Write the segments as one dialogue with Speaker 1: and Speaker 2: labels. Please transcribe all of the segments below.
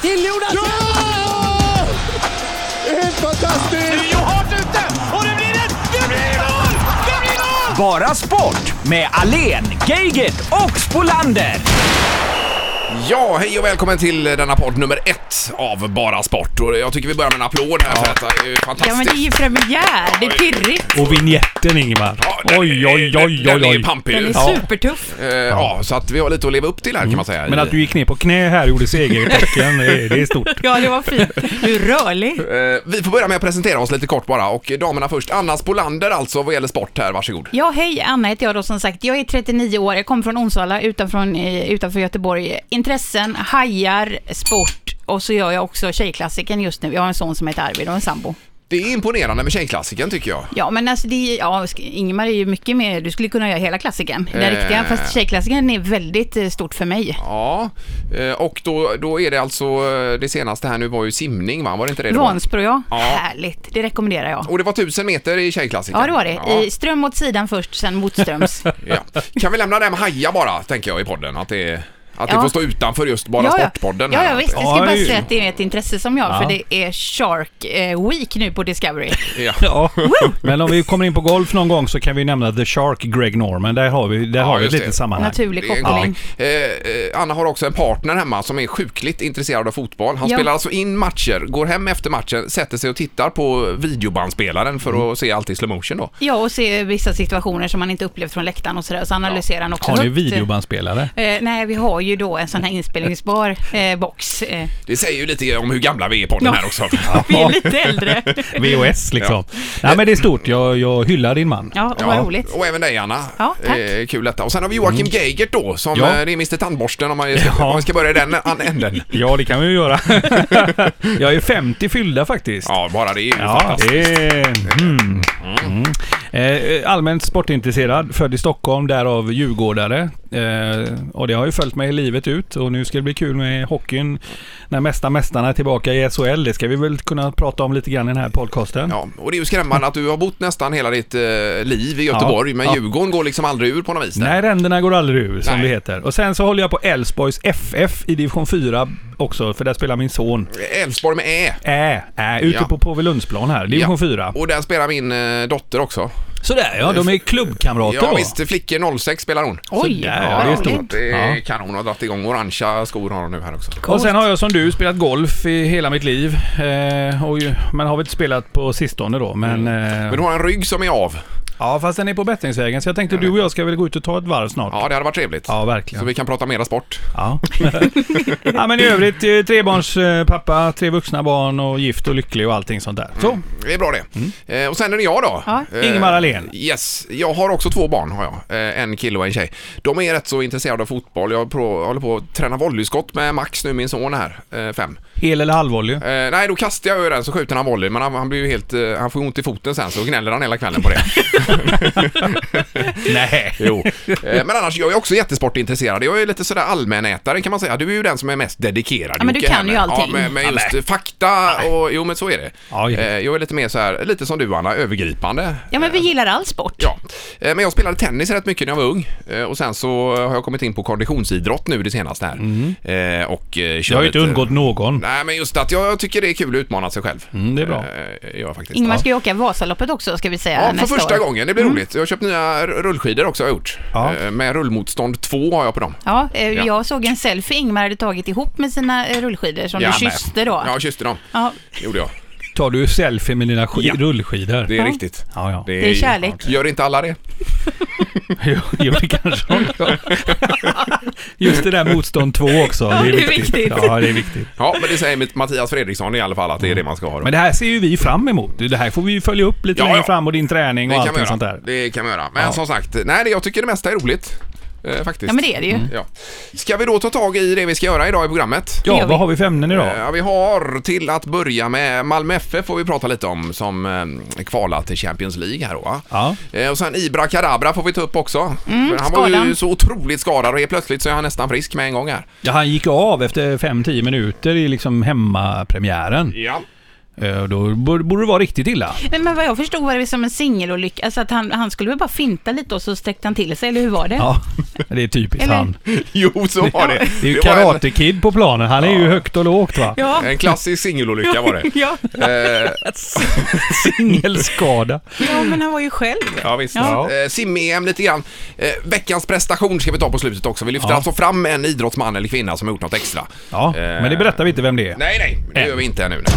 Speaker 1: till Jonas!
Speaker 2: Ja! Det är Ah! helt fantastiskt!
Speaker 3: Rio hårt ute och det blir ett... Det blir mål! Det blir mål!
Speaker 4: Bara sport med Alen, Geigert och Spolander.
Speaker 2: Ja, hej och välkommen till denna podd nummer ett av Bara Sport. Och jag tycker vi börjar med en applåd här för detta är ju fantastiskt.
Speaker 5: Ja men det är ju premiär, det är pirrigt.
Speaker 6: Och vinjetten Ingemar.
Speaker 2: Ja, den-
Speaker 6: Oj, oj, oj,
Speaker 2: Den
Speaker 6: oj,
Speaker 2: är ju
Speaker 6: oj.
Speaker 2: pampig
Speaker 5: Den
Speaker 2: ju.
Speaker 5: är
Speaker 2: ja.
Speaker 5: supertuff.
Speaker 2: Eh, ja, så att vi har lite att leva upp till här kan man säga.
Speaker 6: Mm. Men att du gick ner på knä här och gjorde segertecken, det är- det är stort.
Speaker 5: Ja det var fint. Du är rörlig.
Speaker 2: Eh, Vi får börja med att presentera oss lite kort bara och damerna först. Anna Spolander alltså vad gäller sport här, varsågod.
Speaker 5: Ja, hej, Anna heter jag då som sagt. Jag är 39 år, jag kommer från Onsala utanför, utanför Göteborg. Intressen, hajar, sport och så gör jag också Tjejklassiken just nu. Jag har en son som heter Arvid och en sambo.
Speaker 2: Det är imponerande med tjejklassiken tycker jag.
Speaker 5: Ja, men alltså det är, ja, sk- Ingemar är ju mycket mer, du skulle kunna göra hela klassiken. Den
Speaker 2: Eh.
Speaker 5: riktiga, fast Tjejklassiken är väldigt eh, stort för mig.
Speaker 2: Ja, eh, och då, då är det alltså eh, det senaste här nu var ju simning va? Var det inte det det var?
Speaker 5: Vansbro ja.
Speaker 2: Ja.
Speaker 5: härligt. Det rekommenderar jag.
Speaker 2: Och det var 1000 meter i tjejklassiken?
Speaker 5: Ja, det var det. I ström åt sidan först, sen motströms.
Speaker 2: Ja. Kan vi lämna det här med hajar bara, tänker jag i podden. Att det, att det
Speaker 5: Ja.
Speaker 2: får stå utanför just bara Sportpodden.
Speaker 5: Ja,
Speaker 2: här.
Speaker 5: ja, visst. Jag ska bara
Speaker 6: Oj.
Speaker 5: säga att det är ett intresse som jag har,
Speaker 6: Ja.
Speaker 5: för det är Shark eh, Week nu på Discovery.
Speaker 2: Ja.
Speaker 6: Ja. Men om vi kommer in på golf någon gång så kan vi nämna The Shark, Greg Norman. Där har vi, där har vi ett
Speaker 2: just
Speaker 6: litet
Speaker 2: det.
Speaker 6: sammanhang.
Speaker 5: Naturlig
Speaker 2: Det är en
Speaker 5: koppling.
Speaker 2: koppling. Eh, eh, Anna har också en partner hemma som är sjukligt intresserad av fotboll. Han
Speaker 5: Ja.
Speaker 2: spelar alltså in matcher, går hem efter matchen, sätter sig och tittar på videobandspelaren för att se allt i slow motion då.
Speaker 5: Ja, och se vissa situationer som man inte upplevt från läktaren och sådär. Så analyserar han också
Speaker 6: Har ni
Speaker 5: högt.
Speaker 6: videobandspelare?
Speaker 5: Eh, nej, vi har ju då en sån här inspelningsbar eh, box. Eh,
Speaker 2: Det säger ju lite om hur gamla vi är på den
Speaker 5: Ja.
Speaker 2: här också.
Speaker 5: vi är lite äldre.
Speaker 6: VHS liksom. Nej men det är stort. Jag, jag hyllar din man.
Speaker 5: Ja, vad roligt.
Speaker 2: Och även dig Anna.
Speaker 5: Ja, tack.
Speaker 2: Eh, kul detta. Och sen har vi Joakim Geigert då, som
Speaker 6: Mm. Ja.
Speaker 2: eh, det är Mr Tandborsten om man,
Speaker 6: Ja.
Speaker 2: om man ska börja i den an- änden.
Speaker 6: Ja, det kan vi ju göra. jag är 50 fyllda faktiskt.
Speaker 2: Ja, bara det är ju
Speaker 6: Ja,
Speaker 2: fantastiskt.
Speaker 6: det är... Mm. Mm. Eh, allmänt sportintresserad, född i Stockholm, därav djurgårdare. Eh, och det har ju följt mig livet ut och nu ska det bli kul med hockeyn när mesta mästarna är tillbaka i SHL. Det ska vi väl kunna prata om lite grann i den här podcasten.
Speaker 2: Ja, och det är ju skrämmande att du har bott nästan hela ditt eh, liv i Göteborg, men
Speaker 6: Ja.
Speaker 2: Djurgården går liksom aldrig ur på något vis. där.
Speaker 6: Nej, ränderna går aldrig ur som
Speaker 2: Nej.
Speaker 6: det heter. Och sen så håller jag på Elfsborgs FF i division 4 också, för där spelar min son.
Speaker 2: Elfsborg med Ä.
Speaker 6: Äh, äh, ute
Speaker 2: Ja.
Speaker 6: på Påvelundsplan här, division
Speaker 2: Ja.
Speaker 6: 4.
Speaker 2: Och där spelar min eh, dotter också.
Speaker 6: Sådär ja, de är klubbkamrater
Speaker 2: Ja
Speaker 6: då.
Speaker 2: visst, Flickor 06 spelar hon.
Speaker 5: Oj,
Speaker 6: Sådär,
Speaker 5: vad
Speaker 6: ja, det är
Speaker 5: roligt.
Speaker 6: stort.
Speaker 2: Det är
Speaker 6: Ja.
Speaker 2: kanon. Hon har dragit igång orangea skor har hon nu här också.
Speaker 6: Och sen har jag som du spelat golf i hela mitt liv. Eh, och ju, men har väl inte spelat på sistone då. Men,
Speaker 2: Men
Speaker 6: eh,
Speaker 2: hon har en rygg som är av.
Speaker 6: ja, fast den är på bättringsvägen. Så jag tänkte du och jag ska väl gå ut och ta ett varv snart.
Speaker 2: Ja, det hade varit trevligt.
Speaker 6: Ja, verkligen.
Speaker 2: Så vi kan prata mera sport.
Speaker 6: Ja. ja, men i övrigt eh, trebarnspappa, tre vuxna barn och gift och lycklig och allting sånt där. Så,
Speaker 2: Det är bra det. Eh, och sen är det jag då.
Speaker 5: Ja.
Speaker 2: Eh,
Speaker 6: Mm. Ingemar Ahlén.
Speaker 2: Yes. Jag har också två barn har jag. Eh, en kille och en tjej. De är rätt så intresserade av fotboll. Jag pro- håller på att träna volleyskott med Max nu, min son här, eh, fem.
Speaker 6: hel eller halvvolley?
Speaker 2: Eh, nej, då kastar jag ju den så skjuter han volley, men han, han blir ju helt... Eh, han får ont i foten sen så gnäller han hela kvällen på det.
Speaker 6: Nej.
Speaker 2: Jo. Eh, Men annars, jag är också jättesportintresserad. Jag är lite sådär allmänätare kan man säga. Du är ju den som är mest dedikerad.
Speaker 5: Ja, men du
Speaker 2: Jocke,
Speaker 5: kan
Speaker 2: här med-
Speaker 5: ju allting.
Speaker 2: Ja, med, med
Speaker 6: Ja,
Speaker 2: just
Speaker 6: nej.
Speaker 2: eh, fakta och... Jo, men så är det.
Speaker 6: Ja, ja.
Speaker 2: Eh, Jag är lite mer så här, lite som du Anna, övergripande.
Speaker 5: Ja, men vi gillar all sport.
Speaker 2: Ja, Eh, men jag spelade tennis rätt mycket när jag var ung Eh, och sen så har jag kommit in på konditionsidrott nu det senaste här. Eh, Och eh, kör
Speaker 6: Mm. Jag har ju
Speaker 2: lite-
Speaker 6: inte undgått någon.
Speaker 2: Nej, men just att jag tycker det är kul att utmana sig själv.
Speaker 6: Mm, det är bra.
Speaker 2: Eh, Gör jag faktiskt.
Speaker 5: Ingemar ska ju åka Vasaloppet också, ska vi säga,
Speaker 2: Ja, för
Speaker 5: nästa
Speaker 2: första
Speaker 5: år. Mm.
Speaker 2: gången. Det blir roligt. Jag har köpt nya r- rullskidor också har jag gjort.
Speaker 6: Ja.
Speaker 2: Eh, Med rullmotstånd 2 har jag på dem.
Speaker 5: Ja, eh,
Speaker 2: Ja.
Speaker 5: jag såg en selfie Ingmar hade tagit ihop med sina eh, rullskidor som
Speaker 2: Ja,
Speaker 5: du kysste då.
Speaker 2: men- Ja, jag kysste dem.
Speaker 5: Ja,
Speaker 2: gjorde jag.
Speaker 6: Tar du selfie med dina sk-
Speaker 2: Ja.
Speaker 6: rullskidor?
Speaker 2: Det är
Speaker 5: Ja.
Speaker 2: riktigt.
Speaker 6: Ja, ja.
Speaker 5: Det är kärlek.
Speaker 2: Gör inte alla det?
Speaker 6: Jo, jo, det kanske hon gör. Just det där motstånd två också.
Speaker 5: Ja, det är viktigt.
Speaker 6: Ja, det är viktigt.
Speaker 2: Ja, men det säger mitt- Mattias Fredriksson i alla fall att
Speaker 5: Mm.
Speaker 2: det är det man ska ha. Då.
Speaker 6: Men det här ser ju vi fram emot. Det här får vi ju följa upp lite
Speaker 2: Ja,
Speaker 6: längre
Speaker 2: ja.
Speaker 6: fram och din träning och
Speaker 2: det kan man
Speaker 6: allting sånt
Speaker 2: göra.
Speaker 6: där.
Speaker 2: Det kan man göra. Men
Speaker 6: Ja.
Speaker 2: som sagt, nej, det- jag tycker det mesta är roligt. Eh, faktiskt.
Speaker 5: ja men det är det ju.
Speaker 2: Ja. Ska vi då ta tag i det vi ska göra idag i programmet?
Speaker 5: Det
Speaker 6: Ja,
Speaker 5: gör vi.
Speaker 6: vad har vi för ämnen idag?
Speaker 2: Eh, Ja, vi har till att börja med Malmö FF får vi prata lite om som eh, kvalat till Champions League här då va?
Speaker 6: Ja.
Speaker 2: Eh, Och sen Ibra Karabra får vi ta upp också.
Speaker 6: Mm,
Speaker 2: För han var ju
Speaker 5: skadan.
Speaker 2: så otroligt skadad och helt plötsligt så är han nästan frisk med en gång här.
Speaker 6: Ja, han gick av efter 5-10 minuter i liksom hemmapremiären.
Speaker 2: Ja.
Speaker 6: Eh, Då borde borde det vara riktigt illa.
Speaker 5: Men, men vad jag förstod var det som en singelolycka, alltså att han, han skulle väl bara finta lite och så sträckte han till sig, eller hur var det?
Speaker 6: Ja, det är typiskt
Speaker 5: Eller-
Speaker 6: han.
Speaker 2: Jo, så var det.
Speaker 6: Det är ju
Speaker 2: var en,
Speaker 6: Karate Kid på planen. Han är ju högt och lågt va?
Speaker 5: Ja.
Speaker 2: en klassisk singelolycka var det.
Speaker 5: Ja.
Speaker 2: Eh,
Speaker 6: Singelskada.
Speaker 5: ja, men han var ju själv.
Speaker 2: Ja, visst.
Speaker 6: Ja.
Speaker 2: Eh, Sim-EM lite grann. Eh, veckans prestation ska vi ta på slutet också. Vi lyfter
Speaker 6: Ja.
Speaker 2: alltså fram en idrottsman eller kvinna som har gjort något extra. Eh,
Speaker 6: Ja, men det berättar vi inte vem det är.
Speaker 2: Nej, nej, det
Speaker 6: Än.
Speaker 2: gör vi inte ännu. Nej.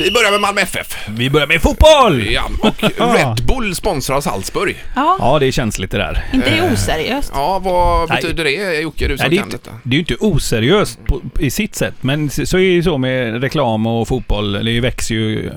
Speaker 2: Vi börjar med Malmö FF.
Speaker 6: Vi börjar med fotboll!
Speaker 2: Ja, och Red Bull sponsrar Salzburg.
Speaker 5: Ja,
Speaker 6: Ja, det är känsligt det där.
Speaker 5: inte det oseriöst?
Speaker 2: Ja, vad
Speaker 6: Nej.
Speaker 2: betyder det Jocke, du som
Speaker 6: Nej, det, är
Speaker 2: kan
Speaker 6: inte,
Speaker 2: detta?
Speaker 6: det är ju inte oseriöst på, i sitt sätt, men så så är det ju så med reklam och fotboll. Det växer ju eh,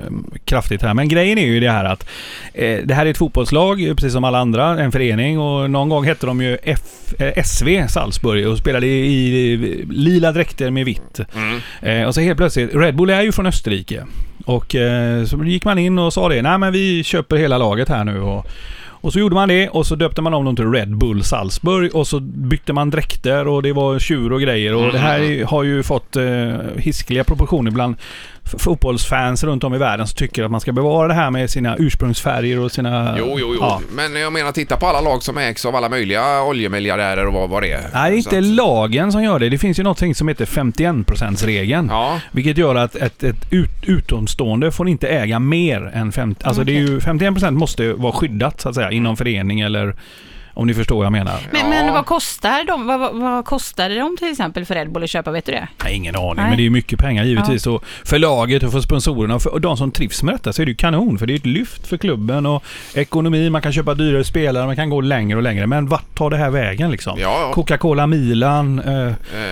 Speaker 6: kraftigt här. Men grejen är ju det här att eh, det här är ett fotbollslag, eh, precis som alla andra, en förening. Och någon gång hette de ju F, eh, SV Salzburg och spelade i, i lila dräkter med vitt.
Speaker 2: Mm.
Speaker 6: Eh, och så helt plötsligt, Red Bull är ju från Österrike. Och eh, så gick man in och sa det, nej men vi köper hela laget här nu. Och, och så gjorde man det och så döpte man om dem till Red Bull Salzburg och så bytte man dräkter och det var tjur och grejer. Och det här
Speaker 2: Mm.
Speaker 6: är- har ju fått eh, hiskeliga proportioner bland f- fotbollsfans runt om i världen som tycker att man ska bevara det här med sina ursprungsfärger och sina...
Speaker 2: Jo, jo, jo.
Speaker 6: Ja.
Speaker 2: Men jag menar, titta på alla lag som ägs av alla möjliga oljemiljardärer och vad, vad det är.
Speaker 6: Nej, det är
Speaker 2: Så
Speaker 6: inte
Speaker 2: att-
Speaker 6: lagen som gör det. Det finns ju någonting som heter 51%-regeln.
Speaker 2: Ja,
Speaker 6: Vilket gör att ett, ett ut, utomstående får inte äga mer än 50... Alltså det är ju, 51% måste vara skyddat så att säga inom förening eller... Om ni förstår vad jag menar.
Speaker 5: Men,
Speaker 2: Ja.
Speaker 5: men vad kostar de? Vad, vad, vad kostade de till exempel för Red Bull att köpa? Vet du det?
Speaker 6: Nej, ingen aning,
Speaker 5: Nej.
Speaker 6: men det är ju mycket pengar givetvis. Och för laget och för sponsorerna och, för, och de som trivs med detta så är det ju kanon. För det är ju ett lyft för klubben och ekonomi, man kan köpa dyrare spelare, man kan gå längre och längre. Men vart tar det här vägen liksom?
Speaker 2: Ja, ja.
Speaker 6: Coca-Cola Milan, eh,
Speaker 2: eh,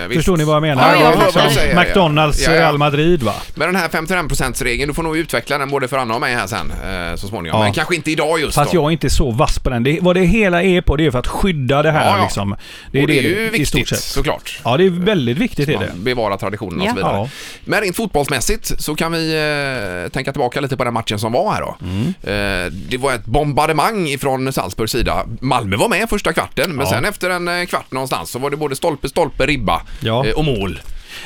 Speaker 2: visst.
Speaker 6: förstår ni vad jag menar?
Speaker 5: Ja, jag
Speaker 6: Det var
Speaker 5: fattar.
Speaker 2: Ja, ja.
Speaker 6: McDonalds,
Speaker 2: Ja, ja.
Speaker 6: Real Madrid va?
Speaker 2: Men den här 51%-regeln, du får nog utveckla den både för Anna och mig här sen eh, så småningom.
Speaker 6: Ja.
Speaker 2: Men kanske inte idag just
Speaker 6: Fast
Speaker 2: då.
Speaker 6: jag är inte så vass på den. Det, vad det hela är på det är för att skydda det här
Speaker 2: Ja, ja.
Speaker 6: liksom.
Speaker 2: Det är, det är ju
Speaker 6: i
Speaker 2: viktigt
Speaker 6: stort sett.
Speaker 2: såklart.
Speaker 6: Ja, det är väldigt viktigt är det.
Speaker 2: Man bevarar traditionen och
Speaker 5: Ja.
Speaker 2: så vidare.
Speaker 6: Ja.
Speaker 2: Men rent fotbollsmässigt så kan vi eh, tänka tillbaka lite på den matchen som var här då.
Speaker 6: Mm.
Speaker 2: Eh, det var ett bombardemang ifrån Salzburgs sida. Malmö var med första kvarten, men
Speaker 6: Ja.
Speaker 2: sen efter en eh, kvart någonstans så var det både stolpe, stolpe, ribba
Speaker 6: Ja.
Speaker 2: eh, och mål.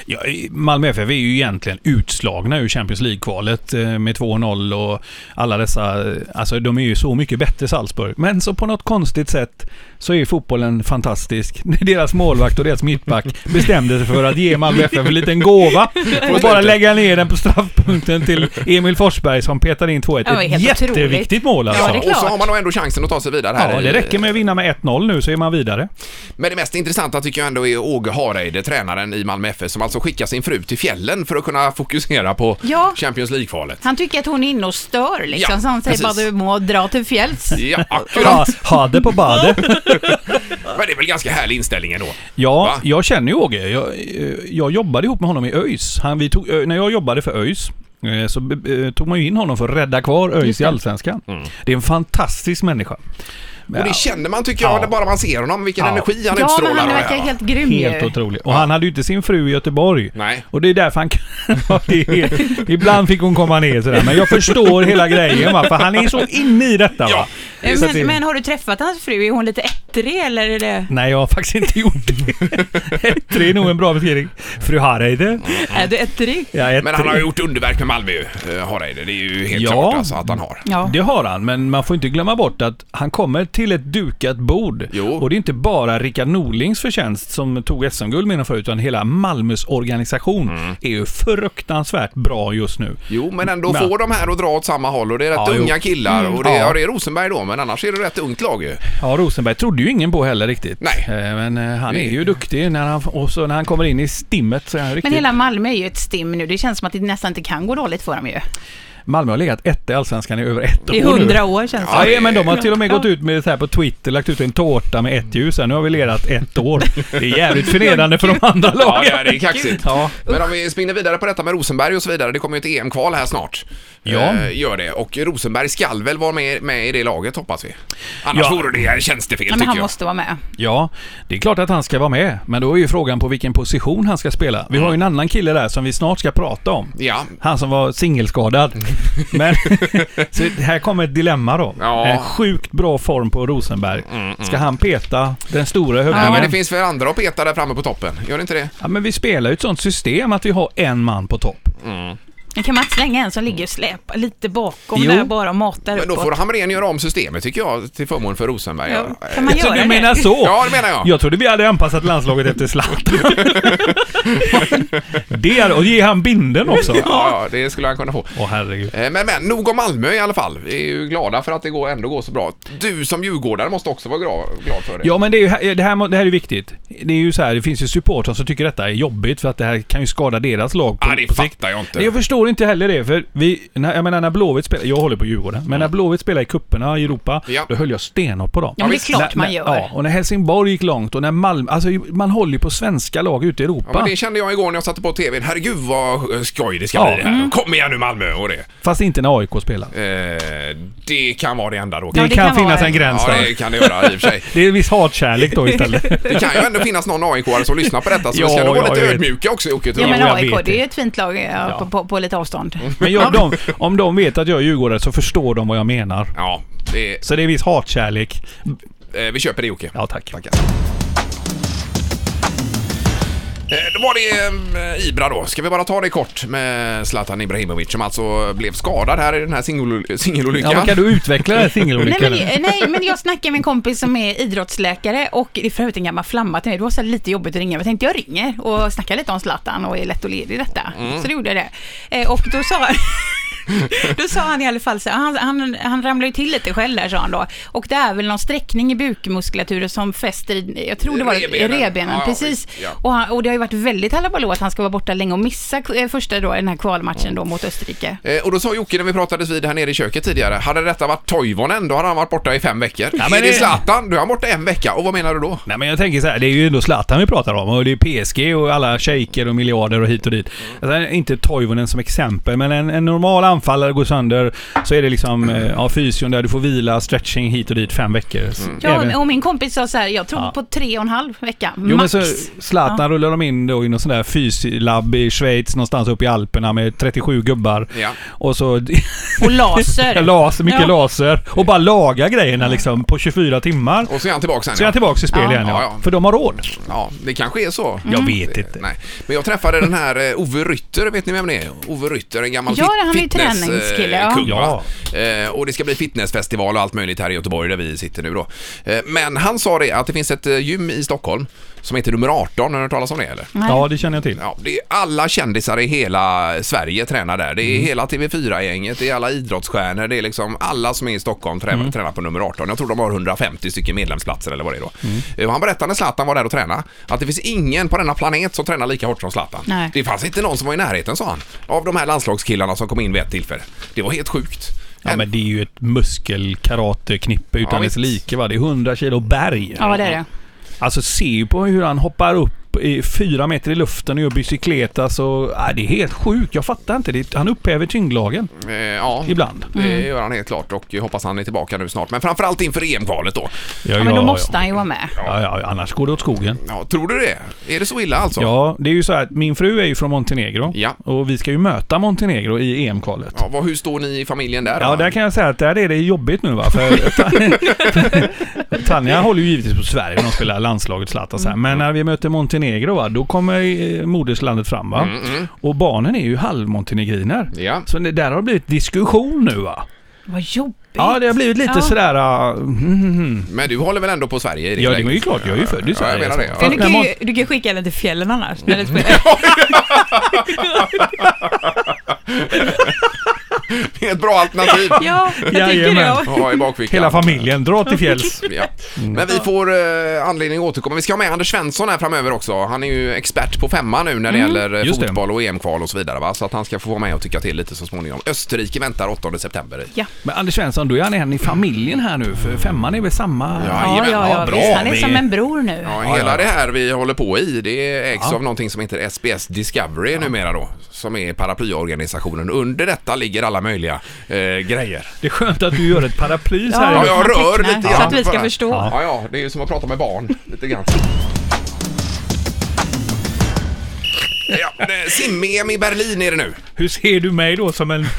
Speaker 6: Ja, Malmö FF är ju egentligen utslagna ur Champions League-kvalet eh, med 2-0 och alla dessa... eh, Alltså de är ju så mycket bättre Salzburg. Men så på något konstigt sätt så är fotbollen fantastisk. Deras målvakt och deras mittback bestämde sig för att ge Malmö FF en liten gåva och bara lägga ner den på straffpunkten till Emil Forsberg som petar in 2-1.
Speaker 5: Ja, det är
Speaker 6: Ett
Speaker 5: helt
Speaker 6: jätteviktigt
Speaker 5: otroligt.
Speaker 6: mål alltså.
Speaker 5: Ja, det är
Speaker 2: och så
Speaker 5: klart.
Speaker 2: har man nog ändå chansen att ta sig vidare här.
Speaker 6: Ja,
Speaker 2: i-
Speaker 6: det räcker med att vinna med 1-0 nu så är man vidare.
Speaker 2: Men det mest intressanta tycker jag ändå är Åge Hareide, tränaren i Malmö FF, som alltså skickar sin fru till fjällen för att kunna fokusera på
Speaker 5: Ja.
Speaker 2: Champions League-kvalet.
Speaker 5: Han tycker att hon är inne och stör liksom,
Speaker 2: Ja,
Speaker 5: så han säger
Speaker 2: precis.
Speaker 5: bara du må dra till fjälls.
Speaker 2: Ja,
Speaker 6: Ha,
Speaker 2: akkurat.
Speaker 6: ha det på badet.
Speaker 2: Men det är väl ganska härlig inställning ändå.
Speaker 6: Ja,
Speaker 2: Va?
Speaker 6: jag känner ju Åge. Jag, eh, jag jobbade ihop med honom i ÖIS. Han, vi tog, eh, när jag jobbade för ÖIS eh, så eh, tog man ju in honom för att rädda kvar ÖIS i Allsvenskan.
Speaker 2: Mm.
Speaker 6: Det är en fantastisk människa.
Speaker 2: Och det känner man tycker jag,
Speaker 6: Ja.
Speaker 2: när bara man ser honom, vilken
Speaker 6: Ja.
Speaker 2: energi han
Speaker 5: Ja,
Speaker 2: utstrålar.
Speaker 5: men han
Speaker 2: och det
Speaker 5: verkar
Speaker 2: här.
Speaker 5: helt grym
Speaker 6: Helt
Speaker 5: ju.
Speaker 6: otrolig. Och han hade ju inte sin fru i Göteborg.
Speaker 2: Nej.
Speaker 6: Och det är därför han kan... Ja, det är, ibland fick hon komma ner sådär. Men jag förstår hela grejen va. För han är så inne i detta va.
Speaker 2: Ja.
Speaker 6: Så att det-
Speaker 5: Men, men har du träffat hans fru? Är hon lite ettrig eller är det...
Speaker 2: Mm.
Speaker 6: Nej, jag har faktiskt inte gjort det. Ettrig är nog en bra beskrivning. Fru Hareide.
Speaker 5: Är du ettrig?
Speaker 6: Ja, ettrig.
Speaker 2: Mm. Men han har ju gjort underverk med Malmö ju, eh, Hareide. Det är ju helt
Speaker 6: Ja.
Speaker 2: klart alltså att han har.
Speaker 5: Ja.
Speaker 6: Det har han, men man får inte glömma bort att han kommer till ett dukat bord.
Speaker 2: Jo.
Speaker 6: Och det är inte bara Rickard Norlings förtjänst som tog SM-guld med honom förut, utan hela Malmös organisation är ju fruktansvärt bra just nu.
Speaker 2: Mm. Jo, men ändå
Speaker 6: Men-
Speaker 2: får de här att dra åt samma håll och det är rätt
Speaker 6: Ja, jo.
Speaker 2: unga killar. Och det,
Speaker 6: Mm, ja.
Speaker 2: ja, det är Rosenberg då, men annars är det rätt ungt lag ju.
Speaker 6: Ja, Rosenberg trodde ju ingen på heller riktigt.
Speaker 2: Nej.
Speaker 6: Eh, Men eh, han
Speaker 2: Det-
Speaker 6: är ju duktig när han, och så när han kommer in i stimmet så är han riktigt...
Speaker 5: Men hela Malmö är ju ett stim nu. Det känns som att det nästan inte kan gå dåligt för dem ju.
Speaker 6: Malmö har legat etta i Allsvenskan i över ett år
Speaker 5: I
Speaker 6: nu.
Speaker 5: hundra år känns det
Speaker 2: Ja,
Speaker 5: som.
Speaker 6: Ja, men de har till och med
Speaker 5: Ja.
Speaker 6: gått ut med så här på Twitter, lagt ut en tårta med ett ljus här. Nu har vi legat ett år. Det är jävligt förnedrande för de andra
Speaker 2: Ja,
Speaker 6: lagen.
Speaker 2: det är kaxigt.
Speaker 6: Ja.
Speaker 2: Men om vi spinner vidare på detta med Rosenberg och så vidare. Det kommer ju ett EM-kval här snart.
Speaker 6: Ja.
Speaker 2: Eh, gör det. Och Rosenberg skall väl vara med, med i det laget hoppas vi. Annars
Speaker 6: Ja.
Speaker 2: vore det tjänstefel
Speaker 5: Ja, men
Speaker 2: tycker
Speaker 5: han
Speaker 2: jag.
Speaker 5: måste vara med.
Speaker 6: Ja, det är klart att han ska vara med. Men då är ju frågan på vilken position han ska spela.
Speaker 2: Mm.
Speaker 6: Vi har ju en annan kille där som vi snart ska prata om.
Speaker 2: Ja, Mm.
Speaker 6: Han som var singelskadad. Men Så här kommer ett dilemma då.
Speaker 2: Ja. Mm,
Speaker 6: Eh, Sjukt bra form på Rosenberg. Ska han peta den stora
Speaker 2: Ja, men det
Speaker 6: hövdingen?
Speaker 2: finns väl andra att peta där framme på toppen? Gör det inte det?
Speaker 6: Ja, men vi spelar ju ett sånt system att vi har en man på topp.
Speaker 5: Men kan man inte slänga en som ligger och släpar lite bakom
Speaker 6: Jo.
Speaker 5: där bara och matar
Speaker 2: Men då får
Speaker 5: uppåt?
Speaker 2: Hamrén göra om systemet tycker jag till förmån för Rosenberg.
Speaker 5: Ja,
Speaker 2: Ja,
Speaker 5: kan man
Speaker 6: Så
Speaker 5: göra
Speaker 6: Alltså, du
Speaker 5: det?
Speaker 6: menar så?
Speaker 2: ja det menar jag.
Speaker 6: Jag trodde vi hade anpassat landslaget efter Zlatan. det är, och ge han binden också.
Speaker 2: Ja, ja, det skulle han kunna få.
Speaker 6: Åh herregud.
Speaker 2: Eh, Men, men nog om Malmö i alla fall. Vi är ju glada för att det går, ändå går så bra. Du som djurgårdare måste också vara gra- glad för det.
Speaker 6: Ja men det, är ju, här- det, här, må- det här är viktigt. Det är ju så här, det finns ju supportrar som tycker detta är jobbigt för att det här kan ju skada deras lag på,
Speaker 2: ah, det
Speaker 6: på sikt.
Speaker 2: fattar jag inte.
Speaker 6: Nej, Jag förstår inte heller det, för vi, när, jag menar när Blåvitt spelar, jag håller på Djurgården, men när Blåvitt spelar i kupperna i Europa,
Speaker 2: Mm. Ja.
Speaker 6: då höll jag stenhårt på dem.
Speaker 5: Ja, men det är klart
Speaker 6: när,
Speaker 5: man
Speaker 6: när-
Speaker 5: gör.
Speaker 6: Ja, och när Helsingborg gick långt och när Malmö, alltså man håller ju på svenska lag ute i Europa.
Speaker 2: Ja, men det kände jag igår när jag satte på TVn. Herregud vad eh, skoj det ska
Speaker 6: Ja.
Speaker 2: bli det här. Kom igen nu Malmö och det.
Speaker 6: Fast inte när AIK spelar.
Speaker 2: Eh, det kan vara det enda då.
Speaker 6: Det,
Speaker 5: Ja, det
Speaker 6: kan,
Speaker 5: kan
Speaker 6: finnas
Speaker 5: vara-
Speaker 6: en gräns
Speaker 2: Ja,
Speaker 6: där.
Speaker 2: det kan det göra i och för sig.
Speaker 6: Det är en viss hatkärlek då istället.
Speaker 2: Det kan ju ändå finnas någon AIK-are som lyssnar på detta, så
Speaker 6: Ja,
Speaker 2: vi ska nog vara
Speaker 6: ja,
Speaker 2: lite
Speaker 6: jag vet.
Speaker 2: ödmjuka också Jocke. tror
Speaker 5: Ja,
Speaker 2: jag.
Speaker 5: men
Speaker 6: Jo, jag
Speaker 5: AIK,
Speaker 6: vet
Speaker 5: det är
Speaker 6: det.
Speaker 5: ju ett fint lag eh, på, på, på lite avstånd.
Speaker 6: Men jag, de, om de vet att jag är djurgårdare så förstår de vad jag menar.
Speaker 2: Ja, det,
Speaker 6: Så det är en viss hatkärlek.
Speaker 2: eh, vi köper det Jocke.
Speaker 6: Ja, tack.
Speaker 2: Tackar. Eh, Då var det eh, Ibra då. Ska vi bara ta det kort med Zlatan Ibrahimovic som alltså blev skadad här i den här singel-
Speaker 6: Ja, men
Speaker 2: singelolyckan.
Speaker 6: kan du utveckla den här
Speaker 5: Nej
Speaker 6: singelolyckan?
Speaker 5: men, eh, nej, men jag snackade med en kompis som är idrottsläkare och det är för övrigt en gammal flamma till mig. Det var så här lite jobbigt att ringa. Jag tänkte jag ringer och snackar lite om Zlatan och är lätt och ledig i detta.
Speaker 2: Mm.
Speaker 5: Så det gjorde jag det. Eh, Och då sa Då sa han i alla fall så här, han, han, han ramlade ju till lite själv där sa han då. Och det är väl någon sträckning i bukmuskulaturen som fäster i, jag tror det var i
Speaker 2: Revbenen.
Speaker 5: revbenen,
Speaker 2: Ja, ja,
Speaker 5: precis.
Speaker 2: visst, ja.
Speaker 5: Och, han, och det har ju varit väldigt halabaloo att han ska vara borta länge och missa eh, första då, den här kvalmatchen då mot Österrike.
Speaker 2: Eh, Och då sa Jocke när vi pratades vid här nere i köket tidigare, hade detta varit Toivonen då hade han varit borta i fem veckor.
Speaker 6: men
Speaker 2: är det
Speaker 6: det-
Speaker 2: Zlatan, då är han borta en vecka. Och vad menar du då?
Speaker 6: Nej men jag tänker så här, det är ju ändå Zlatan vi pratar om och det är PSG och alla shejker och miljarder och hit och dit.
Speaker 2: Mm.
Speaker 6: Alltså, inte Toivonen som exempel, men en, en normal anfallare går sönder så är det liksom eh, ja, fysion där du får vila, stretching hit och dit fem veckor.
Speaker 2: Mm.
Speaker 6: Även-
Speaker 5: Ja, och min kompis sa så här, jag tror
Speaker 6: Ja.
Speaker 5: på tre och en halv vecka,
Speaker 6: Jo men
Speaker 5: max.
Speaker 6: så Zlatan rullar de in då i någon sån där fyslabb i Schweiz någonstans uppe i Alperna med 37 gubbar.
Speaker 2: Ja.
Speaker 6: Och så
Speaker 5: Och laser.
Speaker 6: laser, mycket
Speaker 5: Ja.
Speaker 6: laser. Och bara laga grejerna liksom på 24 timmar.
Speaker 2: Och så är han tillbaka sen.
Speaker 6: Så är
Speaker 2: ja.
Speaker 6: jag tillbaka i spel
Speaker 5: Ja.
Speaker 6: igen
Speaker 2: Ja,
Speaker 6: ja.
Speaker 2: ja.
Speaker 6: För de har råd.
Speaker 2: Ja, det kanske är så. Mm.
Speaker 6: Jag vet inte.
Speaker 2: Nej. Men jag träffade den här eh, Ove Rytter, vet ni vem det är? Ove Rytter, en gammal
Speaker 5: Ja,
Speaker 2: fit-
Speaker 5: han är ju
Speaker 2: fitness, eh,
Speaker 5: träningskille, ja.
Speaker 2: kung, va?
Speaker 6: Ja.
Speaker 2: Eh, Och det ska bli fitnessfestival och allt möjligt här i Göteborg där vi sitter nu då. Eh, Men han sa det att det finns ett eh, gym i Stockholm som heter nummer 18, har ni hört talas om det eller?
Speaker 5: Nej.
Speaker 6: Ja, det känner jag till.
Speaker 2: Ja, det är alla kändisar i hela Sverige tränar där. Det är
Speaker 6: Mm.
Speaker 2: hela TV4-gänget, det är alla idrottsstjärnor, det är liksom alla som är i Stockholm trä-
Speaker 6: Mm.
Speaker 2: tränar på nummer 18. Jag tror de har 150 stycken medlemsplatser eller vad det är då.
Speaker 6: Mm.
Speaker 2: Eh, och Han berättade när Zlatan var där och tränade att det finns ingen på denna planet som tränar lika hårt som Zlatan.
Speaker 5: Nej.
Speaker 2: Det fanns inte någon som var i närheten sa han, av de här landslagskillarna som kom in vid ett tillfälle. Det var helt sjukt.
Speaker 6: Ja men det är ju ett muskelkarateknippe utan
Speaker 2: Ja,
Speaker 6: dess
Speaker 2: visst.
Speaker 6: like va. Det är 100 kilo berg.
Speaker 5: Ja, det är det.
Speaker 6: Alltså se ju på hur han hoppar upp i fyra meter i luften och gör bicykletas och... Ja, det är helt sjukt. Jag fattar inte. Det, han upphäver tyngdlagen
Speaker 2: Eh, ja.
Speaker 6: ibland.
Speaker 2: Det gör han helt klart och jag hoppas han är tillbaka nu snart. Men framförallt inför EM-kvalet då.
Speaker 5: Ja, men då måste han ju vara med.
Speaker 6: Ja, ja, annars går det åt skogen.
Speaker 2: Ja, tror du det? Är det så illa alltså?
Speaker 6: Ja, det är ju så här att min fru är ju från Montenegro
Speaker 2: Ja.
Speaker 6: och vi ska ju möta Montenegro i EM-kvalet.
Speaker 2: Ja, vad, hur står ni i familjen där?
Speaker 6: Ja,
Speaker 2: då?
Speaker 6: där kan jag säga att där är det jobbigt nu va. För Tanja håller ju givetvis på Sverige när de spelar landslaget Zlatan så här. Men
Speaker 2: Mm.
Speaker 6: när vi möter Montenegro va, då kommer eh, moderslandet fram va. Och barnen är ju halvmontenegriner.
Speaker 2: Mm. Ja.
Speaker 6: Så det, där har det blivit diskussion nu va.
Speaker 5: Vad jobbigt.
Speaker 6: Ja, det har blivit lite
Speaker 5: Ja.
Speaker 6: sådär... ah, mm, mm, mm.
Speaker 2: Men du håller väl ändå på Sverige? i ditt
Speaker 6: Ja, det
Speaker 2: läge?
Speaker 6: är ju klart. Jag är ju född
Speaker 2: Ja,
Speaker 6: i
Speaker 2: jag
Speaker 6: Sverige.
Speaker 2: menar det.
Speaker 6: så.
Speaker 2: Ja.
Speaker 5: Men du, kan ju, du kan skicka den till fjällen annars. när det spelar.
Speaker 2: Det är ett bra alternativ.
Speaker 5: Ja, jag tycker
Speaker 6: Jajamän.
Speaker 5: det.
Speaker 2: Ja, i bakfickan.
Speaker 6: Hela familjen, dra till fjälls.
Speaker 2: Ja. Men vi får eh, anledning att återkomma. Vi ska ha med Anders Svensson här framöver också. Han är ju expert på femma nu när det gäller eh,
Speaker 6: Mm, Just det.
Speaker 2: fotboll och EM-kval och så vidare. Va? Så att han ska få vara med och tycka till lite så småningom. Österrike väntar 8 september.
Speaker 5: Ja.
Speaker 6: Men Anders Svensson, då är han en i familjen här nu, för femman är väl samma...
Speaker 5: Ja,
Speaker 2: Jajamän,
Speaker 5: ja,
Speaker 2: ja,
Speaker 5: ja,
Speaker 2: bra.
Speaker 5: visst, han är som
Speaker 6: Vi-
Speaker 5: en bror nu.
Speaker 2: Ja, hela
Speaker 6: ja.
Speaker 2: det här vi håller på i, det ägs
Speaker 6: Ja.
Speaker 2: av någonting som heter SBS Discovery numera då, som är paraplyorganisationen. Under detta ligger alla möjliga eh, grejer.
Speaker 6: Det är skönt att du gör ett paraply så
Speaker 5: Ja,
Speaker 6: här.
Speaker 2: Ja, jag
Speaker 5: man
Speaker 2: rör
Speaker 5: tecknar,
Speaker 2: lite
Speaker 5: så
Speaker 2: grann
Speaker 5: att vi ska
Speaker 2: bara.
Speaker 5: förstå.
Speaker 2: Ja. ja, det är ju som att prata med barn lite grann. Ja, eh, sim-EM i Berlin är det nu.
Speaker 6: Hur ser du mig då som en